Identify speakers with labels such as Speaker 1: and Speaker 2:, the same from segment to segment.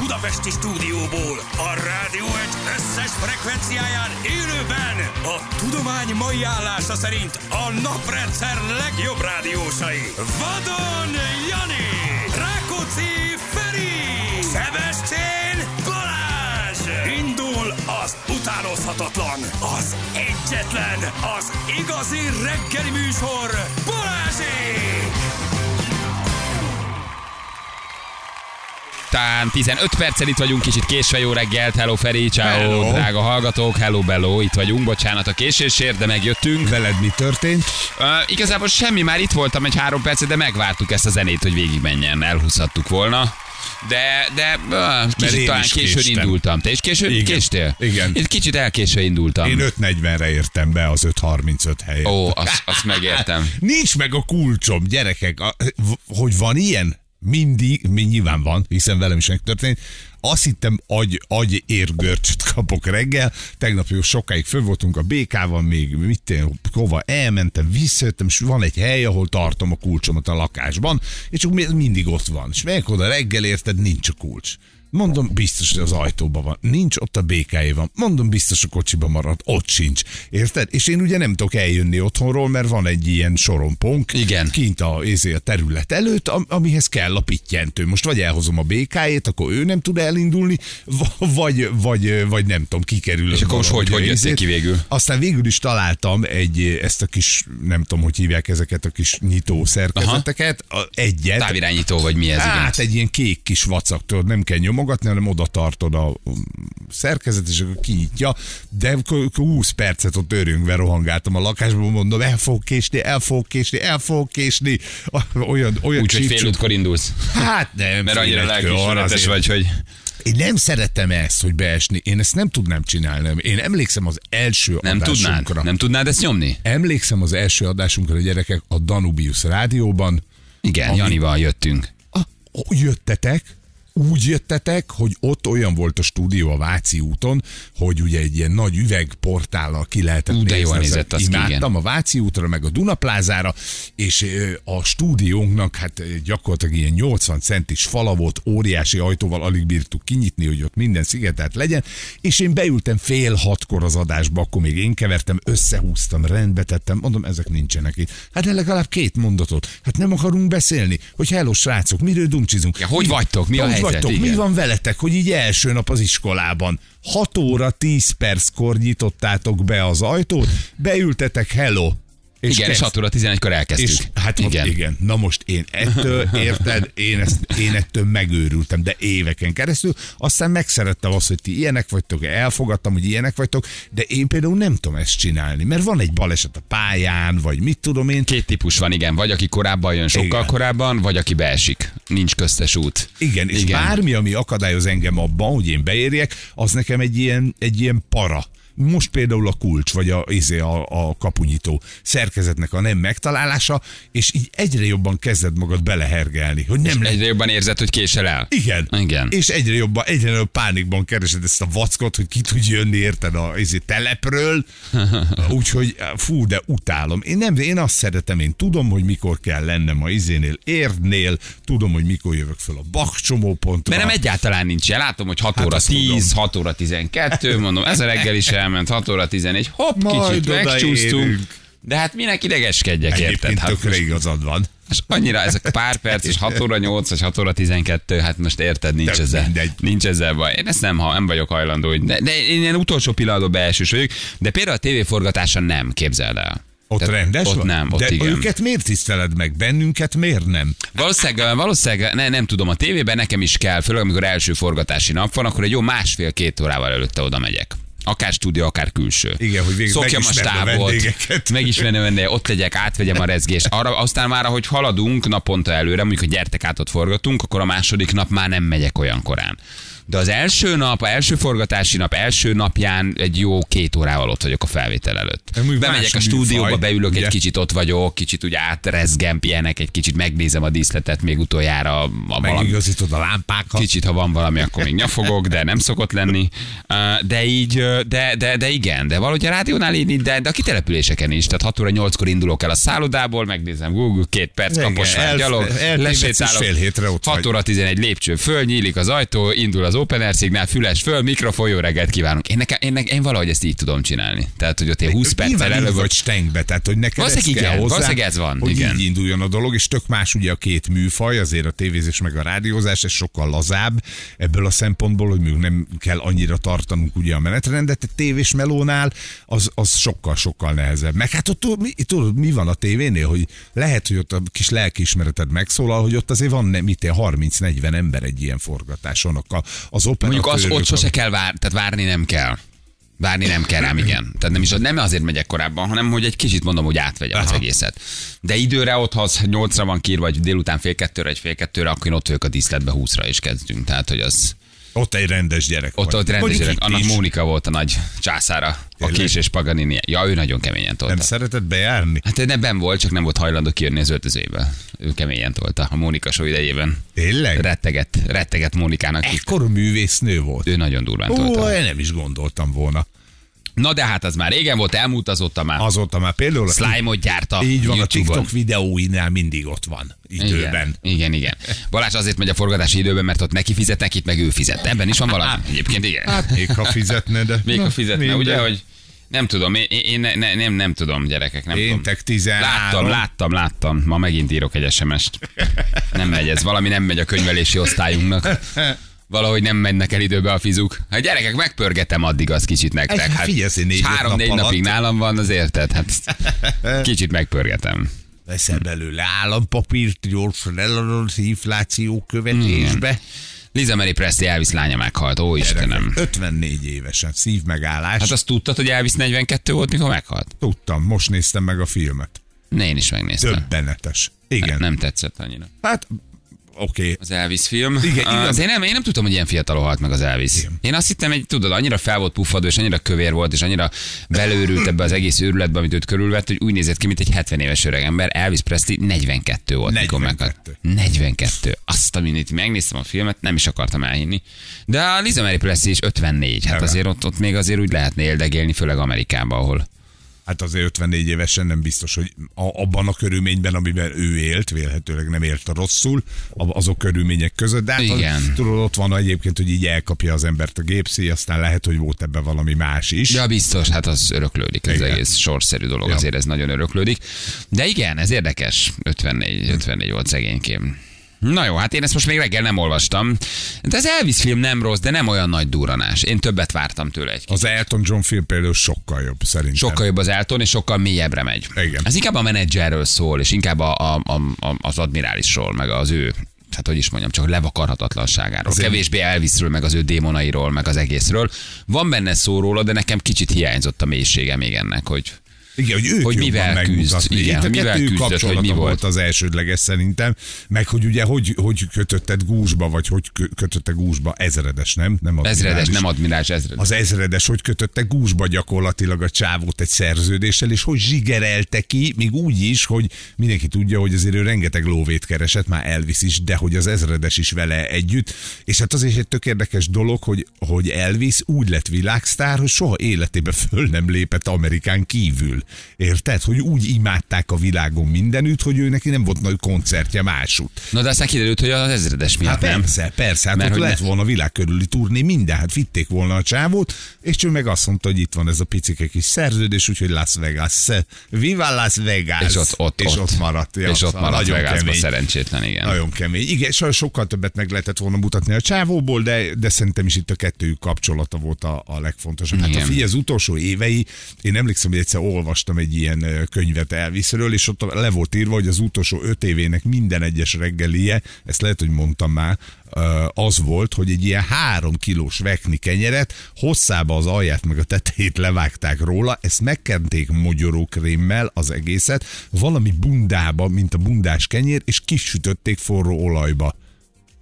Speaker 1: budapesti stúdióból, a rádió egy összes frekvenciáján élőben, a tudomány mai állása szerint a naprendszer legjobb rádiósai. Vadon Jani, Rákóczi Feri, Szebestén Balázs! Indul az utánozhatatlan, az egyetlen, az igazi reggeli műsor, Balázsék!
Speaker 2: után 15 perccel itt vagyunk, kicsit késve jó reggelt, hello Feri, ciao,
Speaker 3: Hello.
Speaker 2: drága hallgatók, hello bello, itt vagyunk, bocsánat a késésért, de megjöttünk.
Speaker 3: Veled mi történt?
Speaker 2: Uh, igazából semmi, már itt voltam egy három percet, de megvártuk ezt a zenét, hogy végigmenjen, elhúzhattuk volna. De, de uh,
Speaker 3: Mert
Speaker 2: kicsit
Speaker 3: én
Speaker 2: talán
Speaker 3: is
Speaker 2: későn
Speaker 3: késtem.
Speaker 2: indultam. Te is későn
Speaker 3: Igen.
Speaker 2: késtél?
Speaker 3: Igen.
Speaker 2: Én kicsit elkésve indultam.
Speaker 3: Én 5.40-re értem be az 5.35 helyet.
Speaker 2: Ó, azt, azt
Speaker 3: Hát
Speaker 2: megértem.
Speaker 3: Nincs meg a kulcsom, gyerekek. A, v- hogy van ilyen? Mindig, mi nyilván van, hiszen velem is megtörtént. Azt hittem, agy, agy érgörcsöt kapok reggel. Tegnap jó sokáig fő voltunk a BK-ban, még mit én, hova elmentem, visszajöttem, és van egy hely, ahol tartom a kulcsomat a lakásban, és csak mi- mindig ott van. És megyek oda reggel, érted, nincs a kulcs. Mondom, biztos, hogy az ajtóban van. Nincs, ott a békáé van. Mondom, biztos a kocsiban maradt. Ott sincs. Érted? És én ugye nem tudok eljönni otthonról, mert van egy ilyen sorompónk.
Speaker 2: Igen.
Speaker 3: Kint a, izé, a terület előtt, am- amihez kell a pittyentő. Most vagy elhozom a békájét, akkor ő nem tud elindulni, v- vagy, vagy, vagy nem tudom, kikerül.
Speaker 2: És akkor most
Speaker 3: valahogy
Speaker 2: hogy-
Speaker 3: a
Speaker 2: hogy jöttél
Speaker 3: izét.
Speaker 2: ki végül?
Speaker 3: Aztán végül is találtam egy, ezt a kis, nem tudom, hogy hívják ezeket a kis nyitó szerkezeteket, a- egyet.
Speaker 2: Távirányító vagy mi ez, igen.
Speaker 3: Hát egy ilyen kék kis vacak, tudod, nem kell nyomogatni, hanem oda tartod a um, szerkezet, és akkor kinyitja. De k- k- 20 percet ott örünkbe rohangáltam a lakásban, mondom, el fog késni, el fog késni, el fog késni. Olyan, olyan
Speaker 2: Úgyhogy fél
Speaker 3: csípcsuk-
Speaker 2: útkor indulsz.
Speaker 3: Hát nem,
Speaker 2: Mert annyira
Speaker 3: fél egykor, arra
Speaker 2: lelkismeretes
Speaker 3: azért.
Speaker 2: vagy, hogy...
Speaker 3: Én nem szeretem ezt, hogy beesni. Én ezt nem tudnám csinálni. Én emlékszem az első
Speaker 2: Nem tudnád?
Speaker 3: adásunkra.
Speaker 2: Nem tudnád ezt nyomni?
Speaker 3: Emlékszem az első adásunkra, gyerekek, a Danubius rádióban.
Speaker 2: Igen,
Speaker 3: Ami-
Speaker 2: Janival jöttünk.
Speaker 3: Ah, jöttetek, úgy jöttetek, hogy ott olyan volt a stúdió a Váci úton, hogy ugye egy ilyen nagy üvegportállal ki lehetett
Speaker 2: Ú, de jól
Speaker 3: Ezzel
Speaker 2: nézett az ki,
Speaker 3: Imádtam
Speaker 2: igen.
Speaker 3: a Váci útra, meg a Dunaplázára, és ö, a stúdiónknak hát ö, gyakorlatilag ilyen 80 centis fala volt, óriási ajtóval alig bírtuk kinyitni, hogy ott minden szigetelt legyen, és én beültem fél hatkor az adásba, akkor még én kevertem, összehúztam, rendbe tettem, mondom, ezek nincsenek itt. Hát de legalább két mondatot. Hát nem akarunk beszélni, hogy hello srácok, miről dumcsizunk.
Speaker 2: Ja, hogy
Speaker 3: Mi-
Speaker 2: vagytok? Mi a
Speaker 3: hogy
Speaker 2: helyzet?
Speaker 3: Vagytok? Mi
Speaker 2: Igen.
Speaker 3: van veletek, hogy így első nap az iskolában 6 óra 10 perckor nyitottátok be az ajtót, beültetek, hello.
Speaker 2: És igen,
Speaker 3: kezd-
Speaker 2: és 6 óra 11-kor elkezdtük.
Speaker 3: és hát igen. igen. Na most én ettől, érted, én, ezt, én ettől megőrültem, de éveken keresztül. Aztán megszerettem azt, hogy ti ilyenek vagytok, elfogadtam, hogy ilyenek vagytok, de én például nem tudom ezt csinálni, mert van egy baleset a pályán, vagy mit tudom én.
Speaker 2: Két típus van, igen. Vagy aki korábban jön, sokkal
Speaker 3: Igen.
Speaker 2: korábban, vagy aki beesik. Nincs köztes út.
Speaker 3: Igen, és
Speaker 2: Igen.
Speaker 3: igen. bármi, ami akadályoz engem abban, hogy én beérjek, az nekem egy ilyen, egy ilyen para. Most például a kulcs, vagy a, izé, a, a kapunyító szerkezetnek a nem megtalálása, és így egyre jobban kezded magad belehergelni, hogy nem lehet
Speaker 2: Egyre jobban érzed, hogy késel el.
Speaker 3: igen.
Speaker 2: Igen.
Speaker 3: És egyre jobban, egyre nagyobb pánikban keresed ezt a vackot, hogy ki tud jönni, érted, a izé, telepről. Úgyhogy fú, de utálom. Én nem, én azt szeretem, én tudom, hogy mikor kell lennem a izénél, érdnél, tudom, hogy mikor jövök föl a Bach csomópontra.
Speaker 2: Mert nem egyáltalán nincs ilyen. Látom, hogy 6 óra
Speaker 3: Hát azt mondom.
Speaker 2: 10, 6 óra 12, mondom, ez a reggel is elment, 6 óra 11, hopp,
Speaker 3: Majd
Speaker 2: kicsit
Speaker 3: odaérünk.
Speaker 2: megcsúsztunk. De hát minek idegeskedjek, érted?
Speaker 3: Egyébként
Speaker 2: Hát
Speaker 3: tökre
Speaker 2: most-
Speaker 3: igazad van.
Speaker 2: és annyira ez a pár perc, és 6 óra 8, vagy 6 óra 12, hát most érted, nincs
Speaker 3: Tök
Speaker 2: ezzel,
Speaker 3: mindegy.
Speaker 2: nincs ezzel baj. Én ezt nem, ha nem vagyok hajlandó, hogy- de, de én ilyen utolsó pillanatban beesős vagyok, de például a tévéforgatása nem, képzeld el.
Speaker 3: Ott
Speaker 2: Tehát
Speaker 3: rendes
Speaker 2: ott
Speaker 3: van?
Speaker 2: nem, ott
Speaker 3: de
Speaker 2: igen.
Speaker 3: őket miért tiszteled meg? Bennünket miért nem?
Speaker 2: Valószínűleg, valószínűleg ne, nem tudom, a tévében nekem is kell, főleg amikor első forgatási nap van, akkor egy jó másfél-két órával előtte oda megyek. Akár stúdió, akár külső.
Speaker 3: Igen, hogy végig
Speaker 2: Szokjam a
Speaker 3: megismerd a
Speaker 2: stábot,
Speaker 3: vendégeket.
Speaker 2: megismerni a vendégeket, ott legyek, átvegyem a rezgést. Arra, aztán már, ahogy haladunk naponta előre, mondjuk, hogy gyertek át, ott forgatunk, akkor a második nap már nem megyek olyan korán. De az első nap, a első forgatási nap, első napján egy jó két órával ott vagyok a felvétel előtt.
Speaker 3: Ez mondjuk
Speaker 2: Bemegyek a
Speaker 3: más
Speaker 2: stúdióba,
Speaker 3: műfaj,
Speaker 2: beülök egy
Speaker 3: ugye?
Speaker 2: kicsit kicsit ott vagyok, kicsit úgy átrezgem, pihenek, egy kicsit megnézem a díszletet még utoljára, ha valami,
Speaker 3: Megigazítod a lámpákat.
Speaker 2: kicsit, ha van valami, akkor még nyafogok, de nem szokott lenni. Uh, De így, uh, de, de, de igen, de valahogy a rádiónál így, de, de a kitelepüléseken is. Tehát 6 óra 8-kor indulok el a szállodából, megnézem Google, két perc
Speaker 3: Igen,
Speaker 2: kaposvány
Speaker 3: el-
Speaker 2: gyalog,
Speaker 3: eltévedsz, és fél hétre ott
Speaker 2: 6
Speaker 3: vagy.
Speaker 2: óra 11 lépcső föl, nyílik az ajtó, indul az Open Air Szignál, füles föl, mikrofon, jó reggelt kívánunk. Én, nekem, én, nekem, én valahogy ezt így tudom csinálni. Tehát, hogy ott én 20 perccel
Speaker 3: Nyilván így
Speaker 2: előbb
Speaker 3: vagy stengbe, tehát hogy neked ez
Speaker 2: Valószínűleg
Speaker 3: kell
Speaker 2: igen,
Speaker 3: hozzá,
Speaker 2: valószínűleg ez van,
Speaker 3: hogy
Speaker 2: igen.
Speaker 3: így induljon a dolog, és tök más ugye a két műfaj, azért a tévézés meg a rádiózás, ez sokkal lazább ebből a szempontból, hogy még nem kell annyira tartanunk ugye a menetrendet, a tévés melónál az, az sokkal-sokkal nehezebb. Meg hát ott tud- mi, tudod, mi van a tévénél, hogy lehet, hogy ott a kis lelkiismereted megszólal, hogy ott azért van nem, itt 30-40 ember egy ilyen forgatáson, a- az operatőrök.
Speaker 2: Mondjuk az ott
Speaker 3: a-
Speaker 2: sose kell vár, tehát várni nem kell. Várni nem kell rám, igen. Tehát nem is nem azért megyek korábban, hanem hogy egy kicsit mondom, hogy átvegyem Aha. az
Speaker 3: Aha.
Speaker 2: egészet. De időre ott, ha az 8-ra van kír, vagy délután fél kettőre, vagy fél kettőre, akkor én ott vagyok a díszletbe 20-ra is kezdünk. Tehát, hogy az
Speaker 3: Ott egy rendes gyerek
Speaker 2: ott,
Speaker 3: van.
Speaker 2: ott rendes
Speaker 3: Mondjuk
Speaker 2: gyerek.
Speaker 3: itt
Speaker 2: Annak
Speaker 3: is.
Speaker 2: Mónika volt a nagy császára, a
Speaker 3: Tényleg?
Speaker 2: kés és Paganini. Ja, ő nagyon keményen
Speaker 3: Nem
Speaker 2: tolta.
Speaker 3: szereted bejárni?
Speaker 2: Hát ő nem volt, csak nem volt hajlandó kijönni az öltözőjéből. Ő keményen tolta a Mónika show idejében.
Speaker 3: Tényleg?
Speaker 2: Retteget, retteget Mónikának.
Speaker 3: Ekkora művésznő volt.
Speaker 2: Ő nagyon durván
Speaker 3: Ó,
Speaker 2: tolta.
Speaker 3: én nem is gondoltam volna.
Speaker 2: Na de hát az már régen volt, elmúlt azóta már.
Speaker 3: Azóta már például... a-
Speaker 2: Slime-ot gyárta
Speaker 3: Így van, a
Speaker 2: YouTube-on.
Speaker 3: TikTok videóinál mindig ott van időben.
Speaker 2: Igen, igen, igen. Balázs azért megy a forgatási időben, mert ott neki fizetnek, itt meg ő fizet. Ebben is van valami. Egyébként igen.
Speaker 3: Hát még ha fizetne, de...
Speaker 2: Még
Speaker 3: Na,
Speaker 2: a fizetne,
Speaker 3: minden.
Speaker 2: ugye, hogy nem tudom, én, én ne, ne, nem, nem tudom, gyerekek, nem tudom.
Speaker 3: Péntek 13.
Speaker 2: Láttam, láttam, láttam. Ma megint írok egy SMS-t. Nem megy ez, valami nem megy a könyvelési osztályunknak. Valahogy nem mennek el időbe a fizuk. Hát gyerekek, megpörgetem addig az kicsit nektek. Hát
Speaker 3: Egy- figyelj, ez négy-öt
Speaker 2: három-négy
Speaker 3: nap alatt.
Speaker 2: napig nálam van, az érted? Hát kicsit megpörgetem.
Speaker 3: Veszel belőle állampapírt, gyorsan eladod az infláció követésbe.
Speaker 2: Liza Mary Presley Elvis lánya meghalt, ó Istenem.
Speaker 3: 54 évesen, szívmegállás.
Speaker 2: Hát azt tudtad, hogy Elvis 42 volt, mikor meghalt?
Speaker 3: tudtam, most néztem meg a filmet.
Speaker 2: Ne, én is megnéztem.
Speaker 3: Döbbenetes. Igen.
Speaker 2: Hát Nem tetszett annyira.
Speaker 3: Hát, oké.
Speaker 2: Az Elvis film.
Speaker 3: Igen, igen.
Speaker 2: Az én, nem, én nem tudtam, hogy ilyen fiatalon halt meg az Elvis. Igen. Én azt hittem, hogy tudod, annyira fel volt puffadó, és annyira kövér volt, és annyira belőrült ebbe az egész őrületbe, amit őt körülvett, hogy úgy nézett ki, mint egy 70 éves öreg ember. Elvis Presley 42 volt, mikor meghalt.
Speaker 3: 42.
Speaker 2: 42. Azt, amit itt megnéztem a filmet, nem is akartam elhinni. De a Liza Mary Presley is 54. Hát
Speaker 3: Igen.
Speaker 2: azért ott, ott még azért úgy lehetne éldegélni, főleg Amerikában, ahol
Speaker 3: Hát azért 54 évesen nem biztos, hogy a, abban a körülményben, amiben ő élt, vélhetőleg nem élt rosszul, a- azok körülmények között. De hát
Speaker 2: Igen.
Speaker 3: Az, tudod, ott van egyébként, hogy így elkapja az embert a gépszi, aztán lehet, hogy volt ebben valami más is.
Speaker 2: Ja, biztos, hát az öröklődik, ez
Speaker 3: Igen.
Speaker 2: egész sorszerű dolog,
Speaker 3: Ja.
Speaker 2: azért ez nagyon öröklődik. De igen, ez érdekes, 54,
Speaker 3: Hm.
Speaker 2: 54 volt szegénykém. Na jó, hát én ezt most még reggel nem olvastam. De az Elvis film nem rossz, de nem olyan nagy duranás. Én többet vártam tőle egy kicsit.
Speaker 3: Az Elton John film például sokkal jobb, szerintem.
Speaker 2: Sokkal jobb az Elton, és sokkal mélyebbre megy.
Speaker 3: Igen.
Speaker 2: Ez inkább a menedzserről szól, és inkább a, a, a, a, az admirálisról, meg az ő hát hogy is mondjam, csak levakarhatatlanságáról.
Speaker 3: Azért-
Speaker 2: Kevésbé Elvisről, meg az ő démonairól, meg az egészről. Van benne szó róla, de nekem kicsit hiányzott a mélysége még ennek, hogy
Speaker 3: Igen, hogy őt
Speaker 2: Hogy
Speaker 3: jobban
Speaker 2: mivel küzd,
Speaker 3: megmutatni.
Speaker 2: igen,
Speaker 3: Itt a
Speaker 2: mivel
Speaker 3: kettő
Speaker 2: küzdött, hogy mi
Speaker 3: kapcsolata
Speaker 2: volt.
Speaker 3: volt az elsődleges szerintem, meg hogy ugye hogy, hogy kötötted gúzsba, vagy hogy kö- kötötte gúzsba, ezredes, nem? nem az
Speaker 2: ezredes,
Speaker 3: irális.
Speaker 2: nem admirális ezredes.
Speaker 3: az ezredes, hogy kötötte gúzsba gyakorlatilag a csávót egy szerződéssel, és hogy zsigerelte ki, még úgy is, hogy mindenki tudja, hogy azért ő rengeteg lóvét keresett, már Elvis is, de hogy az ezredes is vele együtt. És hát az is egy tök érdekes dolog, hogy, hogy Elvis úgy lett világsztár, hogy soha életébe föl nem lépett Amerikán kívül. Érted? Hogy úgy imádták a világon mindenütt, hogy ő neki nem volt nagy koncertje másút.
Speaker 2: Na de aztán kiderült, hogy az ezredes miatt
Speaker 3: Hát
Speaker 2: nem.
Speaker 3: persze, persze, hát
Speaker 2: Mert
Speaker 3: Mert ott
Speaker 2: hogy
Speaker 3: lett
Speaker 2: ne-
Speaker 3: volna világ körüli turné, minden, hát vitték volna a csávót, és ő meg azt mondta, hogy itt van ez a picike kis szerződés, úgyhogy Las Vegas, viva Las Vegas,
Speaker 2: És ott, ott,
Speaker 3: és ott maradt. Ja,
Speaker 2: és ott
Speaker 3: szóval
Speaker 2: maradt
Speaker 3: nagyon
Speaker 2: Vegasban,
Speaker 3: kemény.
Speaker 2: szerencsétlen, igen.
Speaker 3: Nagyon kemény. Igen, sajnos sokkal többet meg lehetett volna mutatni a csávóból, de, de szerintem is itt a kettőjük kapcsolata volt a, a legfontosabb. Hát a
Speaker 2: Igen.
Speaker 3: figyelj, az utolsó évei, én emlékszem, hogy egyszer olvastam egy ilyen ö, könyvet Elvisről, és ott le volt írva, hogy az utolsó öt évének minden egyes reggelie, ezt lehet, hogy mondtam már, ö, az volt, hogy egy ilyen három kilós vekni kenyeret, hosszába az alját meg a tetejét levágták róla, ezt megkenték mogyorókrémmel az egészet, valami bundába, mint a bundás kenyér, és kisütötték forró olajba.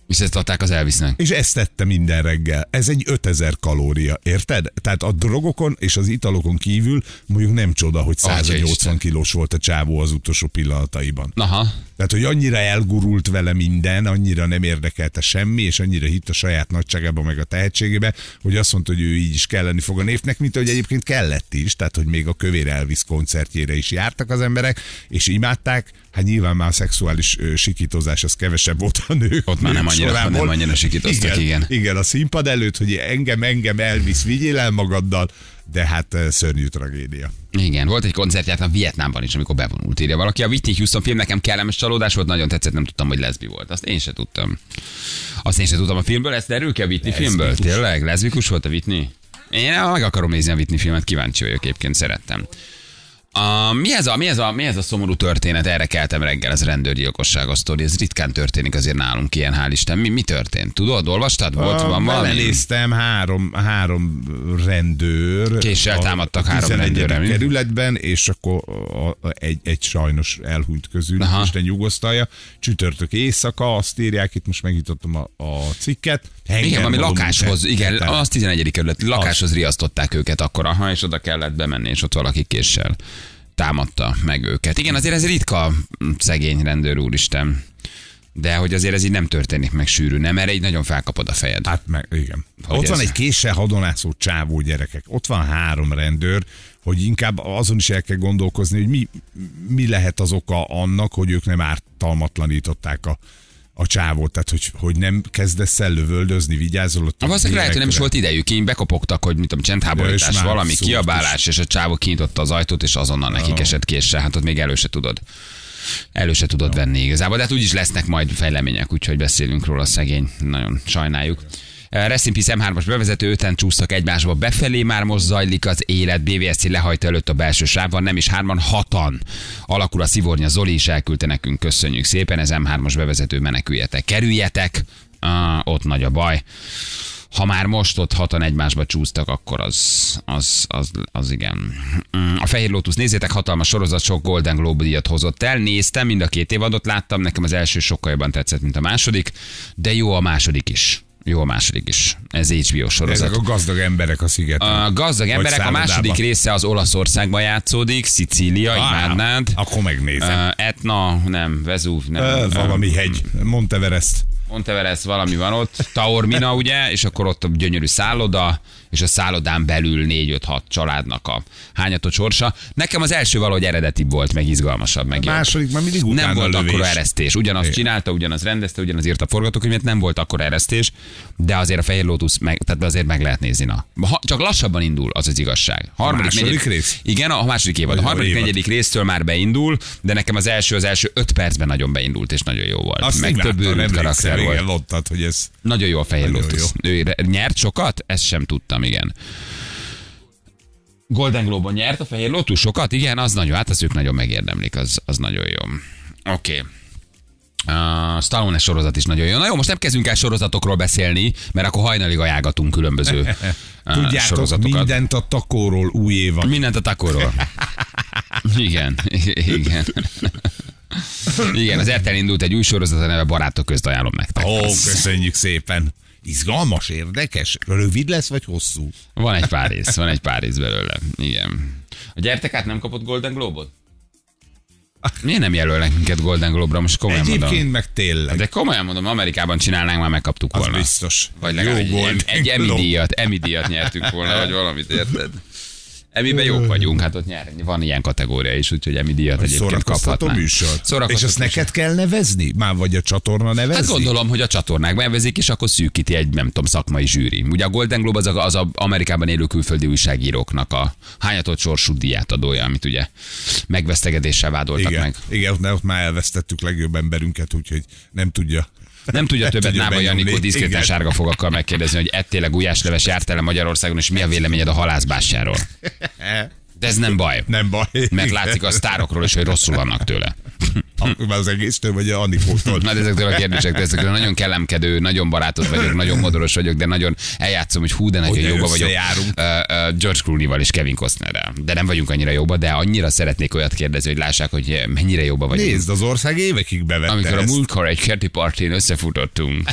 Speaker 2: És ezt adták az Elvisnek.
Speaker 3: És ezt tette minden reggel. Ez egy 5000 kalória, érted? Tehát a drogokon és az italokon kívül mondjuk nem csoda, hogy
Speaker 2: Atya
Speaker 3: 180
Speaker 2: Isten.
Speaker 3: kilós volt a csávó az utolsó pillanataiban.
Speaker 2: Naha.
Speaker 3: Tehát, hogy annyira elgurult vele minden, annyira nem érdekelte semmi, és annyira hitt a saját nagyságába, meg a tehetségébe, hogy azt mondta, hogy ő így is kelleni fog a népnek, mint ahogy egyébként kellett is, tehát, hogy még a kövér Elvis koncertjére is jártak az emberek, és imádták, Hát nyilván már a szexuális ö, sikítozás az kevesebb volt a nő.
Speaker 2: Ott már nem
Speaker 3: nők
Speaker 2: annyira-
Speaker 3: sorából.
Speaker 2: nem annyira sikítoztak, igen.
Speaker 3: Igen, a színpad előtt, hogy engem, engem elvisz, vigyél el magaddal, de hát ö, szörnyű tragédia.
Speaker 2: Igen, volt egy koncertját a Vietnámban is, amikor bevonult, írja valaki. A Whitney Houston film nekem kellemes csalódás volt, nagyon tetszett, nem tudtam, hogy leszbi volt. Azt én se tudtam. Azt én se tudtam a filmből, ezt derül ki a Whitney filmből? Tényleg? Leszbikus volt a Whitney? Én meg akarom nézni a Whitney filmet, kíváncsi vagyok, egyébként szerettem. A, mi, ez a, mi, ez a, mi ez a szomorú történet? Erre keltem reggel, ez rendőrgyilkosság a sztori. Ez ritkán történik azért nálunk ilyen, hál' Isten. Mi, mi történt? Tudod, olvastad? Volt, van valami?
Speaker 3: Belenéztem, három, három rendőr.
Speaker 2: Késsel
Speaker 3: a
Speaker 2: támadtak három
Speaker 3: 11.
Speaker 2: rendőrre, mi?
Speaker 3: kerületben, és akkor a, a, egy, egy sajnos elhúnyt közül,
Speaker 2: Aha.
Speaker 3: Aha. Isten nyugosztalja. Csütörtök éjszaka, azt írják, itt most megnyitottam a, a cikket.
Speaker 2: Igen, valami
Speaker 3: Hengermalom
Speaker 2: lakáshoz,
Speaker 3: után-
Speaker 2: igen,
Speaker 3: után-
Speaker 2: az 11. kerület, lakáshoz riasztották őket akkor, aha, és oda kellett bemenni, és ott valaki késsel támadta meg őket. Igen, azért ez ritka, mm, szegény rendőr úristen. De hogy azért ez így nem történik meg sűrű, nem? Erre így nagyon felkapod a fejed.
Speaker 3: Hát meg, igen.
Speaker 2: Hogy
Speaker 3: Hogy ott
Speaker 2: ez?
Speaker 3: ez? van egy késsel hadonászó csávó gyerekek, ott van három rendőr, hogy inkább azon is el kell gondolkozni, hogy mi, mi lehet az oka annak, hogy ők nem ártalmatlanították a, a csávót, tehát hogy, hogy nem kezdesz el lövöldözni, vigyázol ott.
Speaker 2: Na, Hát Valószínűleg lehet, hogy nem is volt idejük, így bekopogtak, hogy mit tudom,
Speaker 3: Ja, és
Speaker 2: csendháborítás,
Speaker 3: már
Speaker 2: valami
Speaker 3: szólt is.
Speaker 2: kiabálás, és a csávó kinyitotta az ajtót, és azonnal nekik esett késsel. Hát ott még elő se tudod. Elő se tudod venni igazából, de hát úgyis lesznek majd fejlemények, úgyhogy beszélünk róla szegény, nagyon sajnáljuk. Eh, Rest in Peace M3-as bevezető, öten csúsztak egymásba befelé, már most zajlik az élet, BVSC lehajt előtt a belső sávban, nem is hárman, hatan. Alakul a szivornya, Zoli is elküldte nekünk, köszönjük szépen, ez M3-as bevezető, meneküljetek, kerüljetek, ah, ott nagy a baj ha már most ott hatan egymásba csúsztak, akkor az, az, az, az igen. Mm, A Fehér Lotus, nézzétek, hatalmas sorozat, sok Golden Globe díjat hozott el. Néztem, mind a két évadot láttam, nekem az első sokkal jobban tetszett, mint a második, de jó a második is. Jó a második is. Ez HBO sorozat.
Speaker 3: Ezek a gazdag emberek a szigeten.
Speaker 2: A gazdag
Speaker 3: Vagy
Speaker 2: emberek, a
Speaker 3: szállodában.
Speaker 2: második része az Olaszországban játszódik, Szicília,
Speaker 3: Á,
Speaker 2: imádnád.
Speaker 3: Akkor megnézem.
Speaker 2: Ö, Etna, nem, Vezúv, nem.
Speaker 3: Ö, valami hegy, Monteverest.
Speaker 2: Monteveres valami van ott, Taormina ugye, és akkor ott a gyönyörű szálloda, és a szállodán belül 4-5-6 családnak a hányatott sorsa. Nekem az első valahogy eredetibb volt, meg izgalmasabb, meg jobb.
Speaker 3: Második már mindig utána
Speaker 2: Nem volt
Speaker 3: lövés.
Speaker 2: akkor eresztés. Ugyanazt
Speaker 3: Igen.
Speaker 2: csinálta, ugyanaz rendezte, ugyanaz írta a forgatókönyvet, nem volt akkor eresztés, de azért a Fehér Lótusz, meg, tehát azért meg lehet nézni. Na. Ha, csak lassabban indul, az az igazság. Harmadik,
Speaker 3: második
Speaker 2: negyedik-
Speaker 3: rész?
Speaker 2: Igen, a második évad. A
Speaker 3: Vagy a
Speaker 2: harmadik,
Speaker 3: évad.
Speaker 2: negyedik résztől már beindul, de nekem az első, az első öt percben nagyon beindult, és nagyon jó volt.
Speaker 3: Azt
Speaker 2: meg több őrült karakter volt.
Speaker 3: Igen, ott, tehát, hogy ez
Speaker 2: Nagyon jó a Fehér
Speaker 3: Nagyon
Speaker 2: Lotus. Ő re- nyert sokat? Ezt sem tudtam, igen. Golden Globe-on nyert a Fehér Lotus sokat? Igen, az nagyon, hát az ők nagyon megérdemlik, az, az nagyon jó. Oké. Okay. A Stallone sorozat is nagyon jó. Na jó, most nem kezdünk el sorozatokról beszélni, mert akkor hajnalig ajánlatunk különböző ah,
Speaker 3: Tudjátok,
Speaker 2: sorozatokat.
Speaker 3: mindent a takóról új éva.
Speaker 2: Mindent a takóról. Igen, igen. Igen, az RTL indult egy új sorozat, a neve Barátok közt ajánlom nektek.
Speaker 3: Ó, köszönjük szépen. Izgalmas, érdekes, rövid lesz vagy hosszú?
Speaker 2: Van egy pár rész, van egy pár rész belőle. Igen. A gyertek át nem kapott Golden Globot? Miért nem jelölnek minket Golden Globe-ra? Most komolyan mondom.
Speaker 3: Egyébként meg tényleg.
Speaker 2: De komolyan mondom, Amerikában csinálnánk, már megkaptuk
Speaker 3: az
Speaker 2: volna.
Speaker 3: biztos.
Speaker 2: Vagy legalább egy,
Speaker 3: Golden
Speaker 2: egy, egy Emmy
Speaker 3: Globe.
Speaker 2: díjat, Emmy díjat nyertünk volna, vagy valamit, érted? Emiben jók vagyunk, hát ott nyerni. Van ilyen kategória is, úgyhogy Emmy díjat
Speaker 3: Egy
Speaker 2: egyébként
Speaker 3: szórakoztató
Speaker 2: kaphatnánk.
Speaker 3: műsor. És azt
Speaker 2: műsor.
Speaker 3: neked kell nevezni? Már vagy a csatorna nevezi?
Speaker 2: Hát gondolom, hogy a csatornák bevezik, és akkor szűkíti egy, nem tudom, szakmai zsűri. Ugye a Golden Globe az, a, az a Amerikában élő külföldi újságíróknak a hányatott sorsú díját adója, amit ugye megvesztegetéssel vádoltak
Speaker 3: Igen,
Speaker 2: meg.
Speaker 3: igen ott, ott már elvesztettük legjobb emberünket, úgyhogy nem tudja.
Speaker 2: Nem tudja
Speaker 3: Nem
Speaker 2: többet
Speaker 3: tudja
Speaker 2: Náva
Speaker 3: benyomni.
Speaker 2: Janikó diszkréten
Speaker 3: Igen.
Speaker 2: sárga fogakkal megkérdezni, hogy "E, ettéleg ujásleves járt el Magyarországon, és mi a véleményed a halászbásáról. De ez nem baj.
Speaker 3: Nem baj.
Speaker 2: Mert látszik a sztárokról is, hogy rosszul vannak tőle.
Speaker 3: Már az egésztől vagy a Anikótól.
Speaker 2: Na, de ezektől a kérdésektől, ezekről nagyon kellemkedő, nagyon barátos vagyok, nagyon modoros vagyok, de nagyon eljátszom, hogy hú, de nagyon
Speaker 3: Hogy
Speaker 2: jóba vagyok.
Speaker 3: összejárunk.
Speaker 2: Ö, ö, George Clooney-val és Kevin Costnerrel. De nem vagyunk annyira jóba, de annyira szeretnék olyat kérdezni, hogy lássák, hogy mennyire jóba vagyunk.
Speaker 3: Nézd, az ország évekig bevette
Speaker 2: Amikor a
Speaker 3: ezt.
Speaker 2: múltkor egy kerti partin összefutottunk.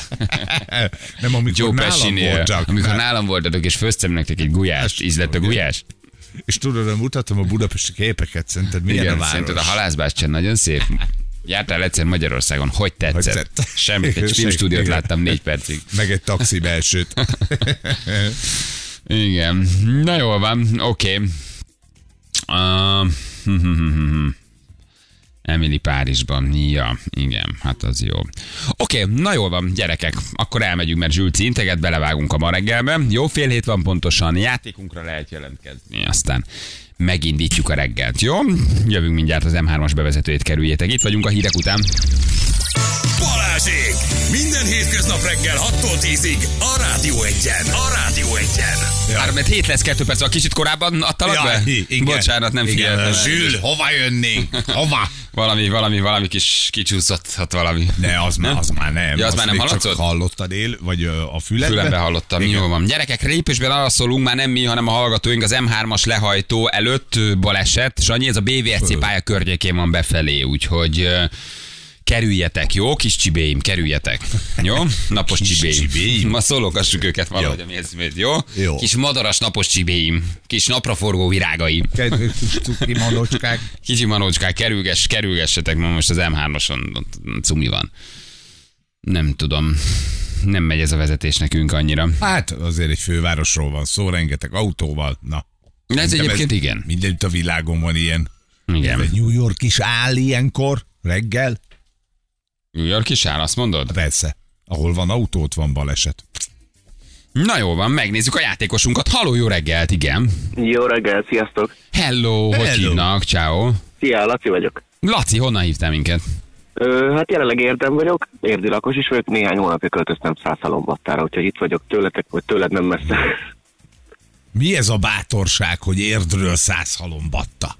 Speaker 3: Nem, amikor
Speaker 2: Joe
Speaker 3: nálam
Speaker 2: Pescinél,
Speaker 3: volt csak. Hát
Speaker 2: amikor nálam voltatok, és főztem nektek egy gulyást, ízlett a gulyás.
Speaker 3: És tudod, hogy mutatom a budapesti képeket, szerinted milyen
Speaker 2: Igen,
Speaker 3: a város?
Speaker 2: szerinted a halászbástyán nagyon szép. Jártál egyszer Magyarországon, hogy tetszett?
Speaker 3: Hogy tetszett?
Speaker 2: Semmit, egy
Speaker 3: Igen,
Speaker 2: filmstúdiót
Speaker 3: igen.
Speaker 2: láttam négy percig.
Speaker 3: Meg egy taxi belsőt.
Speaker 2: Igen. Na jól van, oké. Okay. Uh, Emily Párizsban. Ja, igen, hát az jó. Oké, na jól van, gyerekek, akkor elmegyünk, mert Zsülci integet, belevágunk a ma reggelbe. Jó fél hét van pontosan, játékunkra lehet jelentkezni, aztán megindítjuk a reggelt, jó? Jövünk mindjárt az M3-as bevezetőjét kerüljétek. Itt vagyunk a hírek után.
Speaker 1: Balázsék! Minden hétköznap reggel 6-tól 10-ig a Rádió Egyen. A Rádió Egyen.
Speaker 2: Ja. 3 7 lesz 2 perc, a kicsit korábban adtalak be? Bocsánat, nem figyeltem.
Speaker 3: Zsül, hova jönnénk? Hova?
Speaker 2: Valami, valami, valami kis kicsúszott, hát valami.
Speaker 3: Ne, az már, az már nem.
Speaker 2: Ja, az már nem
Speaker 3: még
Speaker 2: hallatszott?
Speaker 3: Csak hallottad él, vagy ö, a füledbe?
Speaker 2: Fülembe hallottam,
Speaker 3: Igen.
Speaker 2: jó van. Gyerekek, lépésben arra szólunk, már nem mi, hanem a hallgatóink az M3-as lehajtó előtt ö, baleset. Sanyi, ez a BVSC pálya környékén van befelé, úgyhogy ö, kerüljetek, jó? Kis csibéim, kerüljetek. Jó? Napos
Speaker 3: Kis
Speaker 2: csibéim.
Speaker 3: csibéim.
Speaker 2: Ma szólogassuk őket valahogy
Speaker 3: Jó.
Speaker 2: a mézmét, jó?
Speaker 3: Jó.
Speaker 2: Kis madaras napos csibéim. Kis napraforgó virágaim.
Speaker 3: Kedves kis cuki manocskák.
Speaker 2: Kicsi manócskák, kerülgess, kerülgessetek, mert most az M3-oson ott cumi van. Nem tudom. Nem megy ez a vezetés nekünk annyira.
Speaker 3: Hát azért egy fővárosról van szó, rengeteg autóval. Na.
Speaker 2: De ez
Speaker 3: Szerintem
Speaker 2: egyébként igen.
Speaker 3: Mindenütt a világon van ilyen.
Speaker 2: Igen.
Speaker 3: Egy New York is áll ilyenkor, reggel.
Speaker 2: New York is áll, azt mondod?
Speaker 3: Persze. Ahol van autó, ott van baleset.
Speaker 2: Na jó van, megnézzük a játékosunkat. Haló, jó reggelt, igen.
Speaker 4: Jó reggel, sziasztok!
Speaker 2: Hello, hogy
Speaker 3: Hello.
Speaker 2: hívnak? Ciao.
Speaker 4: Szia, Laci vagyok.
Speaker 2: Laci, honnan hívtál minket?
Speaker 4: Ö, hát jelenleg érdem vagyok, érdi lakos is vagyok, néhány hónapja költöztem Szászalombattára, úgyhogy itt vagyok tőletek, vagy tőled nem messze.
Speaker 3: Mi ez a bátorság, hogy érdről száz halombatta?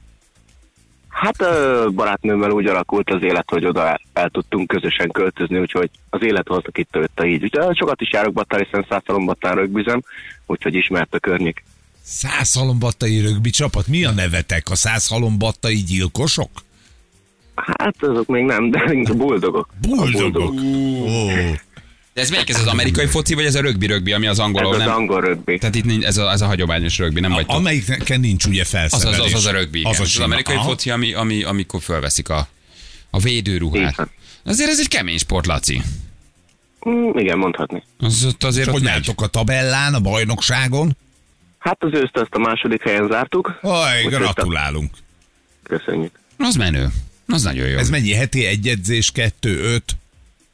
Speaker 4: Hát ö, barátnőmmel úgy alakult az élet, hogy oda el, el tudtunk közösen költözni, úgyhogy az élet hoztak itt tőle így. Úgyhogy ö, sokat is járok Battára, hiszen Szászalombattán rögbizem, úgyhogy ismert a környék.
Speaker 3: Száz halombattai rögbi csapat? Mi a nevetek? A száz halombattai gyilkosok?
Speaker 4: Hát azok még nem, de mint a buldogok.
Speaker 3: Boldogok. Ó,
Speaker 2: De ez melyik? Ez az amerikai foci, vagy ez a rögbi-rögbi, ami az angol,
Speaker 4: Ez
Speaker 2: ahol
Speaker 4: az
Speaker 2: nem?
Speaker 4: angol rögbi.
Speaker 2: Tehát itt nincs, ez a, ez a hagyományos rögbi, nem vagy te.
Speaker 3: Amelyiknek nincs ugye
Speaker 2: Az az, az,
Speaker 3: felszerelés.
Speaker 2: az a rögbi, igen.
Speaker 3: Az,
Speaker 2: Az,
Speaker 3: a
Speaker 2: az
Speaker 3: sima.
Speaker 2: amerikai
Speaker 3: Aha.
Speaker 2: foci, ami, ami, amikor felveszik a, a védőruhát.
Speaker 4: Igen.
Speaker 2: Azért ez egy kemény sport, Laci.
Speaker 4: Mm, igen, mondhatni.
Speaker 2: Az ott azért ott
Speaker 3: Hogy
Speaker 2: megy.
Speaker 3: álltok a tabellán, a bajnokságon?
Speaker 4: Hát az őszt azt a második helyen zártuk.
Speaker 3: Aj,
Speaker 4: Úgyhogy-
Speaker 3: gratulálunk.
Speaker 4: Köszönjük.
Speaker 2: Az menő. Az nagyon jó.
Speaker 3: Ez mennyi heti egy edzés, kettő, öt?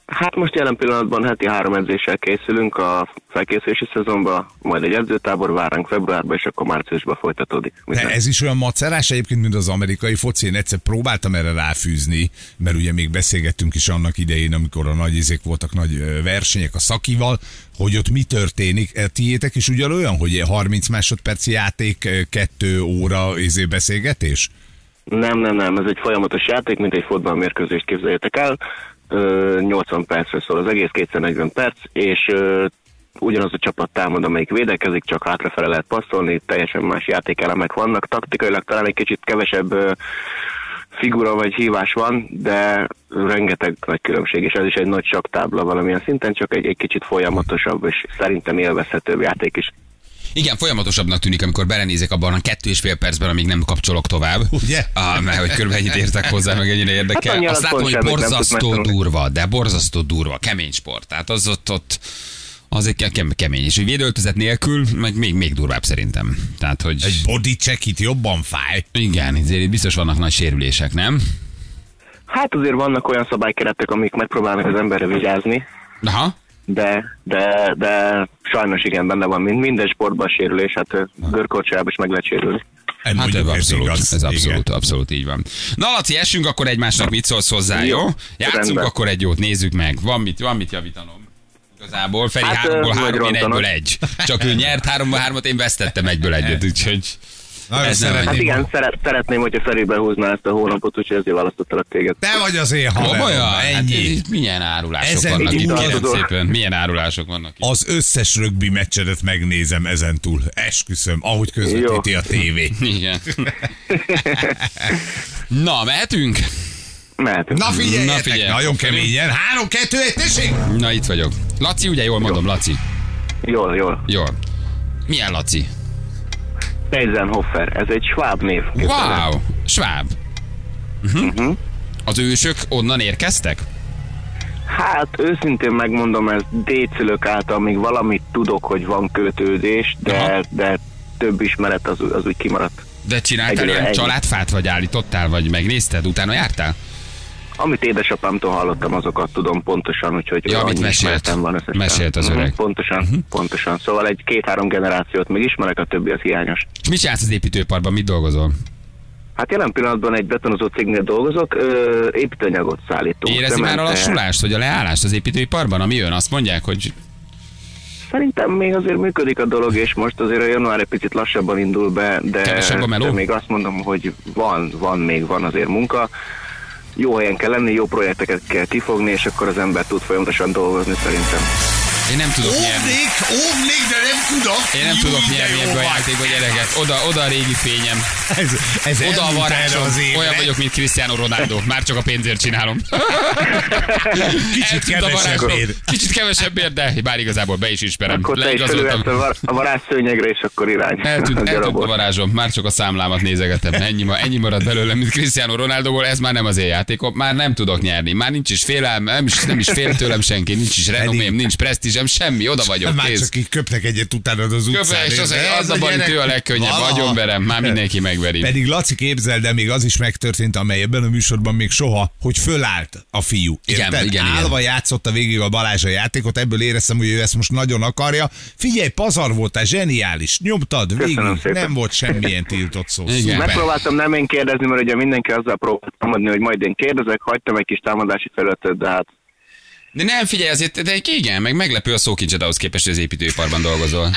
Speaker 4: Hát most jelen pillanatban heti három edzéssel készülünk a felkészülési szezonba, majd egy edzőtábor vár ránk februárban, és akkor márciusban folytatódik.
Speaker 3: De ez is olyan macerás egyébként, mint az amerikai foci. Én egyszer próbáltam erre ráfűzni, mert ugye még beszélgettünk is annak idején, amikor a nagy izék voltak, nagy ö, versenyek a szakival, hogy ott mi történik. E, Tiétek is ugyanolyan, hogy ilyen 30 másodperci játék, ö, kettő óra izé beszélgetés?
Speaker 4: Nem, nem, nem, ez egy folyamatos játék, mint egy fotballmérkőzést képzeljétek el. Ö, 80 percre szól az egész, 240 perc, és ö, ugyanaz a csapat támad, amelyik védekezik, csak hátrafele lehet passzolni, teljesen más játékelemek vannak. Taktikailag talán egy kicsit kevesebb ö, figura vagy hívás van, de rengeteg nagy különbség, és ez is egy nagy saktábla valamilyen szinten, csak egy, egy kicsit folyamatosabb, és szerintem élvezhetőbb játék is.
Speaker 2: Igen, folyamatosabbnak tűnik, amikor belenézek abban a kettő és fél percben, amíg nem kapcsolok tovább.
Speaker 3: Ugye?
Speaker 2: Ah, mert hogy körülbelül ennyit értek hozzá, meg ennyire érdekel.
Speaker 4: Hát annyi
Speaker 2: Azt
Speaker 4: alatt
Speaker 2: látom,
Speaker 4: pont
Speaker 2: hogy
Speaker 4: semmit nem tudsz
Speaker 2: borzasztó
Speaker 4: megtanulni.
Speaker 2: durva, de borzasztó durva, kemény sport. Tehát az ott, ott az egy kem- kemény. És hogy védőltözet nélkül, meg még, még durvább szerintem. Tehát, hogy...
Speaker 3: Egy body check itt jobban fáj.
Speaker 2: Igen, ezért itt biztos vannak nagy sérülések, nem?
Speaker 4: Hát azért vannak olyan szabálykeretek, amik megpróbálnak az emberre vigyázni,
Speaker 2: Aha.
Speaker 4: de, de, de sajnos igen, benne van mind, minden sportban sérülés, hát ö, görkorcsolyában is meg lehet sérülni.
Speaker 3: Hát
Speaker 2: Hát ez abszolút, ez abszolút,
Speaker 3: Igen.
Speaker 2: abszolút így van. Na Laci, essünk akkor egymásnak, mit szólsz hozzá, jó?
Speaker 4: Jó.
Speaker 2: Játszunk
Speaker 4: Rendben.
Speaker 2: akkor egy jót, nézzük meg. Van mit, van mit javítanom. Igazából Feri
Speaker 4: Hát,
Speaker 2: háromból
Speaker 4: ö, vagy
Speaker 2: három, én
Speaker 4: rontanod.
Speaker 2: egyből egy. Csak ő nyert háromból hármat, én vesztettem egyből egyet, úgyhogy...
Speaker 3: Nagyon
Speaker 2: Ez nem
Speaker 4: Hát
Speaker 2: Én
Speaker 4: igen, szeret, szeretném, hogyha Feri behúzná ezt a hónapot, úgyhogy ezért választottalak téged.
Speaker 3: Te vagy az én haverom,
Speaker 2: Komolyan? Hát, ez
Speaker 3: ennyi.
Speaker 2: itt milyen árulások
Speaker 3: Ezen
Speaker 2: vannak itt,
Speaker 4: túl-
Speaker 2: kérem szépen. Milyen árulások vannak itt.
Speaker 3: Az összes rögbi meccsedet megnézem ezentúl. Esküszöm, ahogy közvetíti a tévé.
Speaker 2: Igen. Na, mehetünk?
Speaker 4: Mehetünk.
Speaker 3: Na
Speaker 2: Na
Speaker 3: figyeljetek,
Speaker 2: figyelj.
Speaker 3: nagyon keményen. 3, 2, 1, tessék!
Speaker 2: Na, itt vagyok. Laci, ugye jól mondom, Laci?
Speaker 4: Jól, jól.
Speaker 2: Jól. Milyen Laci?
Speaker 4: Eisenhofer, ez egy sváb név.
Speaker 2: Wow, sváb. Uh-huh. Az ősök onnan érkeztek?
Speaker 4: Hát őszintén megmondom, ez décülök által még valamit tudok, hogy van kötődés,
Speaker 2: Aha.
Speaker 4: de, de több ismeret az, az úgy kimaradt.
Speaker 2: De csináltál
Speaker 4: Egyelőre
Speaker 2: ilyen
Speaker 4: ennyi.
Speaker 2: családfát, vagy állítottál, vagy megnézted, utána jártál?
Speaker 4: Amit édesapámtól hallottam, azokat tudom pontosan, úgyhogy
Speaker 2: Ja, amit
Speaker 4: annyi
Speaker 2: mesélt.
Speaker 4: ismeretem van összesen.
Speaker 2: Mesélt az
Speaker 4: Mhm,
Speaker 2: öreg.
Speaker 4: Pontosan, pontosan. Szóval egy két-három generációt még ismerek, a többi az hiányos.
Speaker 2: És mit csinálsz az építőiparban, mit dolgozol?
Speaker 4: Hát jelen pillanatban egy betonozó cégnél dolgozok, ö, építőanyagot szállítunk.
Speaker 2: Érezi már a
Speaker 4: Cementet.
Speaker 2: lassulást, vagy a leállást az építőiparban, ami jön? Azt mondják, hogy
Speaker 4: Szerintem még azért működik a dolog, és most azért a január egy picit lassabban indul be, de,
Speaker 2: Kevesebb a meló?
Speaker 4: de még azt mondom, hogy van, van még, van azért munka. Jó helyen kell lenni, jó projekteket kell kifogni, és akkor az ember tud folyamatosan dolgozni szerintem.
Speaker 2: én nem tudok nyerni.
Speaker 3: Óvnék, óvnék, de nem tudok.
Speaker 2: Én nem
Speaker 3: Jó,
Speaker 2: tudok
Speaker 3: de
Speaker 2: nyerni
Speaker 3: jó
Speaker 2: ebből a
Speaker 3: vagy.
Speaker 2: játékba gyereket. Oda, oda a régi fényem.
Speaker 3: Ez, ez
Speaker 2: Oda a
Speaker 3: elmúlt erre
Speaker 2: varázsom.
Speaker 3: az évre.
Speaker 2: Olyan vagyok, mint Cristiano Ronaldo. Már csak a pénzért csinálom.
Speaker 3: Kicsit
Speaker 2: Eltűnt a
Speaker 3: kevesebb
Speaker 2: varázslom.
Speaker 3: ér.
Speaker 2: Kicsit kevesebb ér, de bár igazából be is ismerem.
Speaker 4: Akkor te is
Speaker 2: Leigazoltam.
Speaker 4: fölülhetsz a, var- a varázsszőnyegre, és akkor irány.
Speaker 2: Eltűnt,
Speaker 4: a
Speaker 2: eltűnt a
Speaker 4: gyarabot.
Speaker 2: varázsom, már csak a számlámat nézegetem. Ennyi, ma, ennyi marad belőle, mint Cristiano Ronaldoból, ez már nem az én játékom, már nem tudok nyerni. Már nincs is félelm, nem is, nem is fél tőlem senki, nincs is renomém, nincs presztízsem, semmi, oda vagyok,
Speaker 3: Hát Már
Speaker 2: kész.
Speaker 3: csak így köpnek egyet utána az utcán.
Speaker 2: Köpve, és az,
Speaker 3: érted?
Speaker 2: az
Speaker 3: Ez
Speaker 2: a baj,
Speaker 3: gyerek
Speaker 2: ő a legkönnyebb,
Speaker 3: valaha-
Speaker 2: agyonverem, már mindenki megveri.
Speaker 3: Pedig Laci képzel, de még az is megtörtént, amely ebben a műsorban még soha, hogy fölállt a fiú.
Speaker 2: Igen,
Speaker 3: Érted?
Speaker 2: igen, igen.
Speaker 3: Állva játszotta végig a Balázs a játékot, ebből éreztem, hogy ő ezt most nagyon akarja. Figyelj, pazar voltál, zseniális, nyomtad végig,
Speaker 4: Köszönöm szépen.
Speaker 3: nem volt semmilyen tiltott szó.
Speaker 2: Igen.
Speaker 3: Szuper.
Speaker 4: Megpróbáltam nem én kérdezni, mert ugye mindenki azzal próbált támadni, hogy majd én kérdezek, hagytam egy kis támadási felületet, de hát
Speaker 2: De nem, figyelj, azért, de igen, meg meglepő a szókincsed ahhoz képest, hogy az építőiparban dolgozol.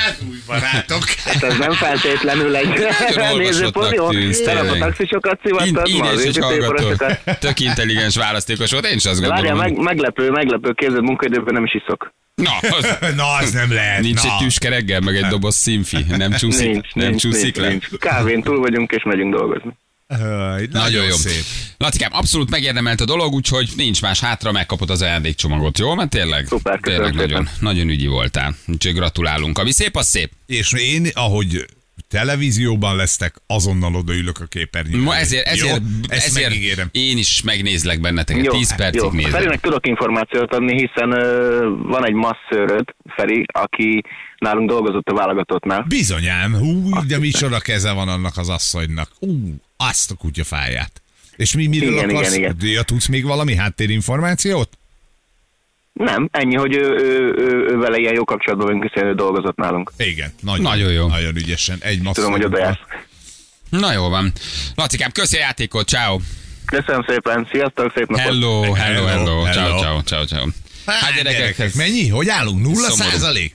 Speaker 3: Barátok.
Speaker 4: Hát ez nem feltétlenül egy
Speaker 2: olvasottnak
Speaker 4: nézőpozó.
Speaker 2: tűnsz,
Speaker 4: Tegnap a
Speaker 2: tényleg.
Speaker 4: taxisokat
Speaker 2: Ind,
Speaker 4: szivattad, ma
Speaker 2: így
Speaker 4: az
Speaker 2: is egy hallgató.
Speaker 4: építőiparasokat.
Speaker 2: Tök intelligens választékos volt, én is azt
Speaker 4: De hát- Várjál,
Speaker 2: gondolom.
Speaker 4: meg,
Speaker 2: hogy-
Speaker 4: meglepő, meglepő, képzeld, munkaidőben nem is iszok.
Speaker 2: Na, az,
Speaker 3: Na, az nem lehet.
Speaker 2: Nincs
Speaker 3: na. Hát.
Speaker 2: egy tüske reggel, meg egy doboz színfi. Nem csúszik,
Speaker 4: Nincs,
Speaker 2: nem
Speaker 4: nincs,
Speaker 2: csúszik
Speaker 4: nincs,
Speaker 2: le.
Speaker 4: nincs. Kávén túl vagyunk, és megyünk dolgozni.
Speaker 3: Nagyon,
Speaker 2: Nagyon jó.
Speaker 3: szép.
Speaker 2: Latikám, abszolút megérdemelt a dolog, úgyhogy nincs más hátra, megkapod az ajándékcsomagot, jó? Mert tényleg,
Speaker 4: Szuper, köszönöm
Speaker 2: tényleg
Speaker 4: szépen.
Speaker 2: nagyon, nagyon ügyi voltál. Úgyhogy gratulálunk. Ami szép, az szép.
Speaker 3: És én, ahogy televízióban lesztek, azonnal odaülök a képernyőre.
Speaker 2: Ma ezért, ezért,
Speaker 3: Jó? Ezt
Speaker 2: ezért
Speaker 3: megígérem.
Speaker 2: én is megnézlek benneteket. 10 percig
Speaker 4: jó.
Speaker 2: nézlek.
Speaker 4: Ferinek tudok információt adni, hiszen ö, van egy masszőröd, Feri, aki nálunk dolgozott a válogatottnál.
Speaker 3: Bizonyám, hú, de micsoda keze van annak az asszonynak. Ú, azt a kutya fáját. És mi, miről
Speaker 4: Igen,
Speaker 3: akarsz?
Speaker 4: igen, igen.
Speaker 3: Ja, tudsz még valami háttérinformációt?
Speaker 4: Nem, ennyi, hogy ő, ő, ő, ő vele ilyen jó kapcsolatban vagyunk, hiszen ő dolgozott nálunk.
Speaker 3: Igen, nagyon,
Speaker 2: Nagyon jó.
Speaker 3: Nagyon ügyesen. Egy
Speaker 4: Tudom, hogy oda jársz.
Speaker 2: Na jó van. Latikám, köszi a játékot, ciao.
Speaker 4: Köszönöm szépen, sziasztok, szép napot!
Speaker 2: Hello, hello, hello,
Speaker 3: Hello,
Speaker 2: ciao,
Speaker 3: hello.
Speaker 2: ciao, ciao, ciao.
Speaker 3: Hát gyerekek, mennyi? Hogy állunk? Nulla
Speaker 2: Szomorú.
Speaker 3: százalék?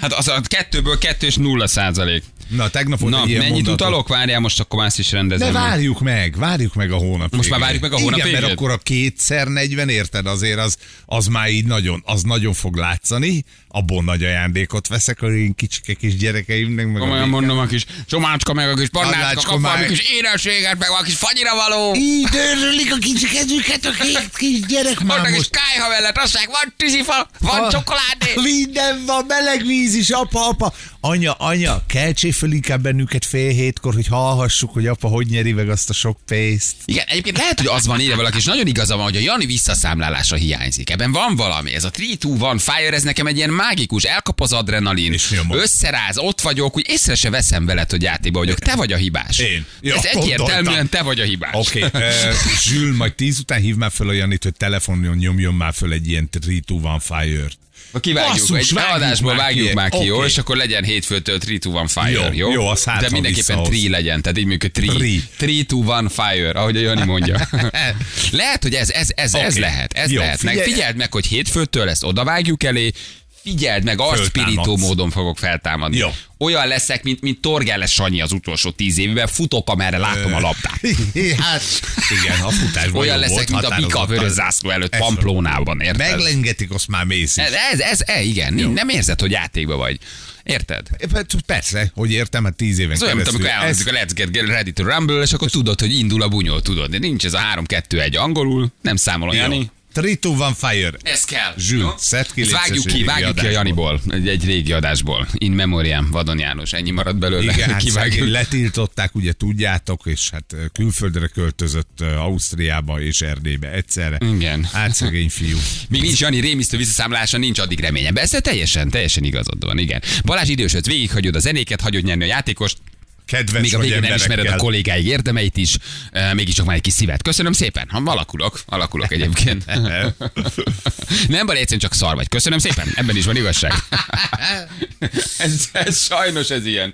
Speaker 2: Hát az a kettőből kettő és nulla százalék.
Speaker 3: Na, tegnap volt
Speaker 2: Na,
Speaker 3: egy ilyen
Speaker 2: mennyit
Speaker 3: mondatot.
Speaker 2: utalok? Várjál, most akkor már ezt is rendezem.
Speaker 3: De
Speaker 2: meg.
Speaker 3: várjuk meg, várjuk meg a hónap
Speaker 2: Most már
Speaker 3: végét.
Speaker 2: várjuk meg a hónap
Speaker 3: Igen, mert
Speaker 2: végét?
Speaker 3: akkor a kétszer 40, érted, azért az, az már így nagyon, az nagyon fog látszani, abból nagy ajándékot veszek a én kicsike kis gyerekeimnek, meg
Speaker 2: Komolyan
Speaker 3: a
Speaker 2: mondom, a kis csomácska, meg a kis barnácska,
Speaker 3: Barnácska
Speaker 2: kap valami
Speaker 3: már.
Speaker 2: kis éneséget, meg a kis fagyira való.
Speaker 3: így dörrölik a kicsi kezüket a két kis gyerek már
Speaker 2: Vannak is
Speaker 3: most.
Speaker 2: kájha mellett, azt mondják, van tűzifal, van
Speaker 3: Ah.
Speaker 2: csokoládé.
Speaker 3: Minden van, meleg víz is, apa, apa. Anya, anya, keltsé föl inkább bennünket fél hétkor, hogy hallhassuk, hogy apa hogy nyeri meg azt a sok pénzt.
Speaker 2: Igen, egyébként lehet, hogy az van írva valaki, és nagyon igaza van, hogy a Jani visszaszámlálása hiányzik. Ebben van valami. Ez a 3-2 van fire, ez nekem egy ilyen mágikus, elkap az adrenalin,
Speaker 3: És nyomod.
Speaker 2: összeráz, ott vagyok, úgy észre se veszem veled, hogy játékba vagyok. Te vagy a hibás.
Speaker 3: Én. Ja,
Speaker 2: ez
Speaker 3: gondoltam.
Speaker 2: egyértelműen te vagy a hibás.
Speaker 3: Oké, okay. Zsül, majd tíz után hív már föl a Janit, hogy telefonon nyomjon már föl egy ilyen 3 van fire-t.
Speaker 2: Ha Kivágjuk,
Speaker 3: Basszus,
Speaker 2: egy
Speaker 3: vágjuk
Speaker 2: adásból
Speaker 3: már
Speaker 2: vágjuk
Speaker 3: ki.
Speaker 2: már ki, jó?
Speaker 3: Oké.
Speaker 2: És akkor legyen hétfőtől 3 1 fire, jó?
Speaker 3: Jó, jó, az hátra
Speaker 2: De mindenképpen
Speaker 3: visszahoz.
Speaker 2: 3 legyen, tehát így működik 3.
Speaker 3: Three.
Speaker 2: 3 1 fire, ahogy a Jani mondja. lehet, hogy ez, ez, ez, ez
Speaker 3: Oké.
Speaker 2: lehet, ez
Speaker 3: Jó,
Speaker 2: lehet. Meg
Speaker 3: figyelj-
Speaker 2: figyeld meg, hogy hétfőtől ezt odavágjuk elé, Figyeld meg, arcpirító
Speaker 3: Föltámadsz.
Speaker 2: módon fogok feltámadni.
Speaker 3: Jó.
Speaker 2: Olyan leszek, mint, mint Torgelles Sanyi az utolsó tíz évben, futok, amerre látom a labdát.
Speaker 3: hát, igen, a futásban
Speaker 2: Olyan
Speaker 3: jó
Speaker 2: leszek,
Speaker 3: volt,
Speaker 2: mint a Bika
Speaker 3: határozottan.
Speaker 2: vörös zászló előtt
Speaker 3: Ez van.
Speaker 2: Pamplónában, érted?
Speaker 3: Meglengetik, azt már mész is.
Speaker 2: Ez, ez, ez e, igen, nem érzed, hogy játékba vagy. Érted?
Speaker 3: Hát, Persze, hogy értem, hát tíz éven
Speaker 2: Ez olyan, mint amikor elhangzik a Let's Get Ready to Rumble, és akkor tudod, hogy indul a bunyó, tudod. De nincs ez a 3-2-1 angolul, nem számol a Jani.
Speaker 3: 3 van fire.
Speaker 2: Ez kell.
Speaker 3: Zsül,
Speaker 2: Jó?
Speaker 3: szedd ki,
Speaker 2: Ezt
Speaker 3: légy
Speaker 2: vágjuk
Speaker 3: szíves,
Speaker 2: ki,
Speaker 3: régi
Speaker 2: vágjuk ki a Janiból,
Speaker 3: adásból.
Speaker 2: egy, egy régi adásból. In memoriam, Vadon János, ennyi maradt belőle.
Speaker 3: Igen, hát szegény,
Speaker 2: Kivágjuk.
Speaker 3: letiltották, ugye tudjátok, és hát ö, külföldre költözött ö, Ausztriába és Erdélybe egyszerre.
Speaker 2: Igen.
Speaker 3: Hát szegény fiú.
Speaker 2: Míg nincs Jani rémisztő visszaszámlása, nincs addig reményem. Persze teljesen, teljesen igazad van, igen. Balázs idősöd, végighagyod a zenéket, hagyod nyerni a játékost,
Speaker 3: kedves
Speaker 2: Még a
Speaker 3: vagy
Speaker 2: végén nem
Speaker 3: emberekkel.
Speaker 2: ismered a kollégáig érdemeit is, e, mégiscsak már egy kis szívet. Köszönöm szépen. Ha alakulok, alakulok egyébként. nem baj, egyszerűen csak szar vagy. Köszönöm szépen. Ebben is van igazság. ez, ez sajnos ez ilyen.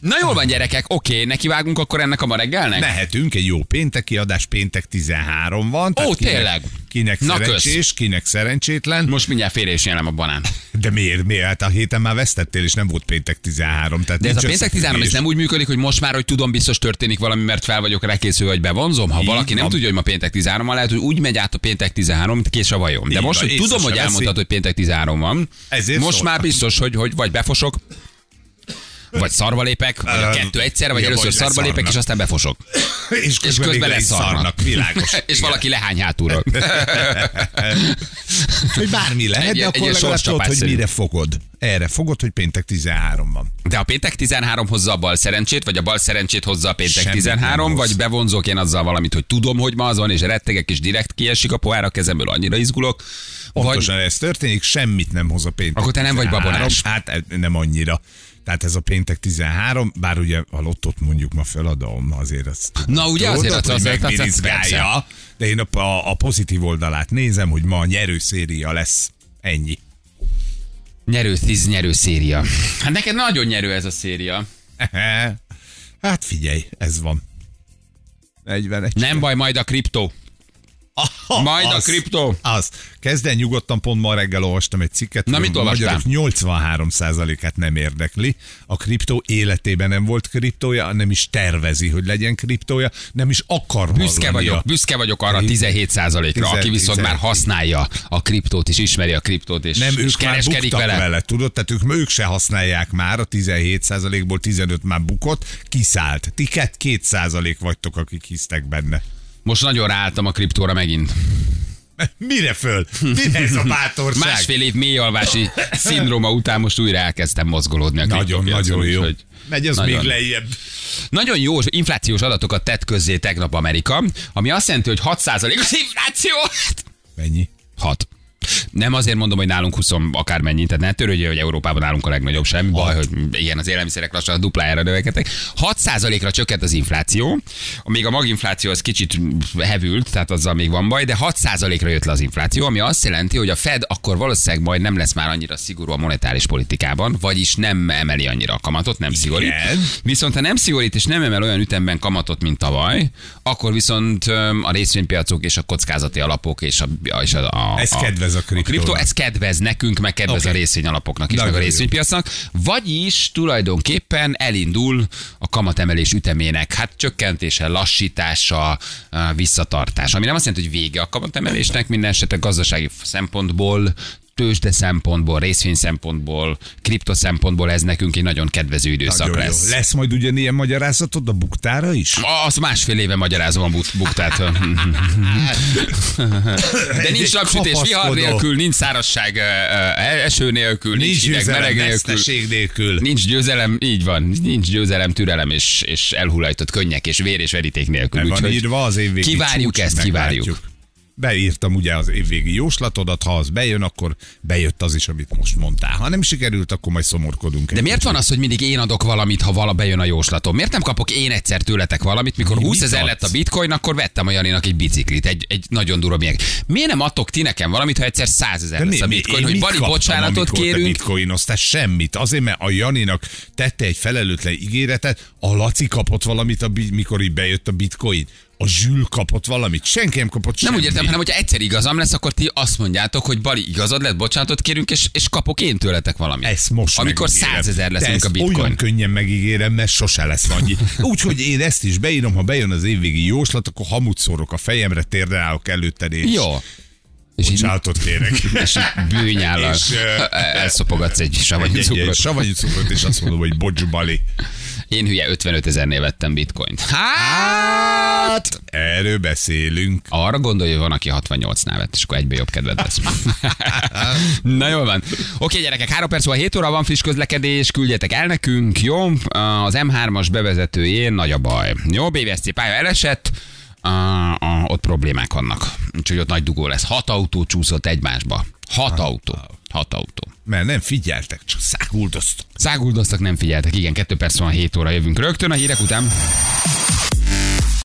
Speaker 2: Na jól van, gyerekek, oké, nekivágunk akkor ennek a ma reggelnek?
Speaker 3: Mehetünk, egy jó pénteki adás, péntek 13 van. tehát
Speaker 2: Ó,
Speaker 3: kinek-
Speaker 2: tényleg?
Speaker 3: Kinek
Speaker 2: Na,
Speaker 3: szerencsés, kinek szerencsétlen.
Speaker 2: Most mindjárt félre is jelen a banán.
Speaker 3: De miért, miért? Hát a héten már vesztettél, és nem volt péntek 13. Tehát
Speaker 2: De ez a
Speaker 3: nincs
Speaker 2: péntek 13, ez
Speaker 3: összefüggés.
Speaker 2: nem úgy működik, hogy most már, hogy tudom, biztos történik valami, mert fel vagyok rákészülve, vagy bevonzom. Ha
Speaker 3: Így
Speaker 2: valaki nem
Speaker 3: van.
Speaker 2: tudja, hogy ma péntek 13 van, lehet, hogy úgy megy át a péntek 13, mint kés a vajom. De
Speaker 3: Így
Speaker 2: most,
Speaker 3: van,
Speaker 2: hogy
Speaker 3: észre
Speaker 2: tudom,
Speaker 3: se
Speaker 2: hogy
Speaker 3: veszi.
Speaker 2: elmondhatod, hogy péntek 13 van,
Speaker 3: Ezért
Speaker 2: most
Speaker 3: szóltam.
Speaker 2: már biztos, hogy, hogy vagy befosok, vagy szarvalépek, vagy a
Speaker 3: Ö,
Speaker 2: kettő egyszerre, vagy
Speaker 3: igen,
Speaker 2: először
Speaker 3: vagy leszarnak.
Speaker 2: szarvalépek, és aztán befosok.
Speaker 3: És
Speaker 2: És
Speaker 3: közben, még
Speaker 2: közben
Speaker 3: le is
Speaker 2: leszarnak.
Speaker 3: szarnak. Világos.
Speaker 2: És
Speaker 3: igen.
Speaker 2: valaki lehány hátulról.
Speaker 3: Hogy bármi lehet,
Speaker 2: Egy-
Speaker 3: de
Speaker 2: egy
Speaker 3: akkor
Speaker 2: ilyen
Speaker 3: legalább tudod, hogy
Speaker 2: sorscsapásszerű.
Speaker 3: mire fogod. Erre fogod, hogy péntek 13 van.
Speaker 2: De a péntek 13 hozza a bal szerencsét, vagy a bal szerencsét hozza a péntek
Speaker 3: Semmit nem
Speaker 2: 13,
Speaker 3: hoz.
Speaker 2: vagy bevonzok én azzal valamit, hogy tudom, hogy ma az van, és rettegek, és direkt kiesik a pohár a kezemből, annyira izgulok. Vagy
Speaker 3: Pontosan ez történik, semmit nem hoz a péntek.
Speaker 2: Akkor te nem vagy
Speaker 3: 13.
Speaker 2: babonás.
Speaker 3: Hát eh, nem annyira. Tehát ez a péntek 13, bár ugye a lottot mondjuk ma feladom, azért azt
Speaker 2: Na, ugye,
Speaker 3: tudod,
Speaker 2: azért azt-
Speaker 3: hogy
Speaker 2: azt- azt-
Speaker 3: megbirizgálja, de én a, a, a pozitív oldalát nézem, hogy ma a nyerő széria lesz. Ennyi.
Speaker 2: nyerő tíz, nyerő széria. Hát neked nagyon nyerő ez a széria.
Speaker 3: Hát figyelj, ez van. 41.
Speaker 2: Nem baj, majd a kriptó.
Speaker 3: Aha,
Speaker 2: Majd a kriptó.
Speaker 3: Az. Kezd el nyugodtan, pont ma reggel olvastam egy cikket.
Speaker 2: Na, mit
Speaker 3: a
Speaker 2: olvastál?
Speaker 3: magyarok 83%-át nem érdekli. A kriptó életében nem volt kriptója, nem is tervezi, hogy legyen kriptója, nem is akar
Speaker 2: Büszke
Speaker 3: hallania.
Speaker 2: vagyok, büszke vagyok arra 17%-ra, aki viszont már használja a kriptót, és ismeri a kriptót, és,
Speaker 3: Nem,
Speaker 2: és
Speaker 3: ők már
Speaker 2: kereskedik
Speaker 3: buktak vele.
Speaker 2: vele.
Speaker 3: vele, tudod? Tehát ők, ők se használják már, a 17%-ból 15 már bukott, kiszállt. Ti két- 2% vagytok, akik hisztek benne.
Speaker 2: Most nagyon ráálltam a kriptóra megint.
Speaker 3: Mire föl? Mire ez a bátorság?
Speaker 2: Másfél év mélyalvási szindróma után most újra elkezdtem mozgolódni. A
Speaker 3: Nagyon,
Speaker 2: kriptopiacon,
Speaker 3: nagyon jó.
Speaker 2: úgyhogy
Speaker 3: Megy az
Speaker 2: nagyon.
Speaker 3: még lejjebb.
Speaker 2: Nagyon jó inflációs adatokat tett közzé tegnap Amerika, ami azt jelenti, hogy 6%-os infláció.
Speaker 3: Mennyi?
Speaker 2: 6. Nem azért mondom, hogy nálunk 20 akármennyi, tehát ne törődjél, hogy Európában nálunk a legnagyobb semmi baj, hogy igen, az élelmiszerek lassan a duplájára növekedtek. 6%-ra csökkent az infláció, még a maginfláció az kicsit hevült, tehát azzal még van baj, de 6%-ra jött le az infláció, ami azt jelenti, hogy a Fed akkor valószínűleg majd nem lesz már annyira szigorú a monetáris politikában, vagyis nem emeli annyira a kamatot, nem szigorít. Viszont ha nem szigorít és nem emel olyan ütemben kamatot, mint tavaly, akkor viszont öm, a részvénypiacok és a kockázati alapok és a, és a, a
Speaker 3: Ez kedvez a kriptónak.
Speaker 2: kriptó, ez kedvez nekünk, meg kedvez
Speaker 3: Oké.
Speaker 2: a részvényalapoknak is,
Speaker 3: Nagyon
Speaker 2: meg a
Speaker 3: jó.
Speaker 2: részvénypiacnak. Vagyis tulajdonképpen elindul a kamatemelés ütemének, hát csökkentése, lassítása, á, visszatartása. Ami nem azt jelenti, hogy vége a kamatemelésnek, minden esetre gazdasági szempontból tőzsde szempontból, részvény szempontból, kripto szempontból ez nekünk egy nagyon kedvező időszak
Speaker 3: Nagyon
Speaker 2: lesz.
Speaker 3: Jó. Lesz majd ugyanilyen magyarázatod a buktára is?
Speaker 2: Azt másfél éve magyarázom a bu- buktát. De nincs
Speaker 3: Egy
Speaker 2: napsütés, vihar
Speaker 3: kapaszkodó.
Speaker 2: nélkül, nincs szárazság, ö, ö, eső nélkül, nincs,
Speaker 3: Nincs
Speaker 2: hideg, meleg
Speaker 3: győzelem,
Speaker 2: nélkül.
Speaker 3: veszteség nélkül.
Speaker 2: Nincs győzelem, így van, nincs győzelem, türelem és, és elhulajtott könnyek és vér és veríték nélkül.
Speaker 3: Meg van
Speaker 2: Úgyhogy
Speaker 3: írva az évvégi
Speaker 2: Kivárjuk
Speaker 3: csúcs,
Speaker 2: ezt,
Speaker 3: meglátjuk.
Speaker 2: kivárjuk.
Speaker 3: Beírtam ugye az évvégi jóslatodat, ha az bejön, akkor bejött az is, amit most mondtál. Ha nem sikerült, akkor majd szomorkodunk.
Speaker 2: De
Speaker 3: egy
Speaker 2: miért
Speaker 3: kicsit.
Speaker 2: van az, hogy mindig én adok valamit, ha vala bejön a jóslatom? Miért nem kapok én egyszer tőletek valamit, mikor
Speaker 3: Mi-
Speaker 2: 20
Speaker 3: mit
Speaker 2: ezer
Speaker 3: adsz?
Speaker 2: lett a bitcoin, akkor vettem a Janinak egy biciklit, egy, egy nagyon durva miért. Miért nem adtok ti nekem valamit, ha egyszer 100 ezer
Speaker 3: De
Speaker 2: lesz a
Speaker 3: mi- mi-
Speaker 2: bitcoin,
Speaker 3: én
Speaker 2: hogy
Speaker 3: mit
Speaker 2: Bali
Speaker 3: kaptam,
Speaker 2: bocsánatot
Speaker 3: amikor Te
Speaker 2: kérünk?
Speaker 3: bitcoinoztál semmit. Azért, mert a Janinak tette egy felelőtlen ígéretet, a Laci kapott valamit, a, bi- mikor így bejött a bitcoin. A Zsül kapott valamit, senki nem
Speaker 2: Nem
Speaker 3: kapott semmit.
Speaker 2: úgy értem, hanem hogyha egyszer igazam lesz, akkor ti azt mondjátok, hogy Bali igazad lett, bocsánatot kérünk, és, és kapok én tőletek valamit.
Speaker 3: Ezt most
Speaker 2: Amikor
Speaker 3: megígérem.
Speaker 2: 100 ezer lesz
Speaker 3: De
Speaker 2: mondjuk a
Speaker 3: ezt
Speaker 2: bitcoin.
Speaker 3: Olyan könnyen megígérem, mert sose lesz annyi. Úgyhogy én ezt is beírom, ha bejön az évvégi jóslat, akkor hamut szórok a fejemre, térdre állok előtted, és
Speaker 2: Jó. És így,
Speaker 3: bocsánatot kérek.
Speaker 2: és így bűnyállal
Speaker 3: És, ö,
Speaker 2: elszopogatsz egy savanyú
Speaker 3: Egy, egy
Speaker 2: cukrot.
Speaker 3: savanyú cukrot, és azt mondom, hogy bocs, Bali.
Speaker 2: Én hülye 55 ezernél vettem bitcoint. Hát!
Speaker 3: Erről beszélünk.
Speaker 2: Arra gondolj, hogy van, aki 68-nál vett, és akkor egybe jobb kedved lesz. Na jól van. Oké, gyerekek, 3 perc múlva 7 óra van friss közlekedés, küldjetek el nekünk, jó? Az M3-as bevezetőjén nagy a baj. Jó, BVSC pálya elesett, a, a, ott problémák vannak. Úgyhogy ott nagy dugó lesz. Hat autó csúszott egymásba. Hat autó. Hat autó.
Speaker 3: Mert nem figyeltek, csak száguldoztak.
Speaker 2: Száguldoztak, nem figyeltek. Igen, 2 perc van 7 óra, jövünk rögtön a hírek után.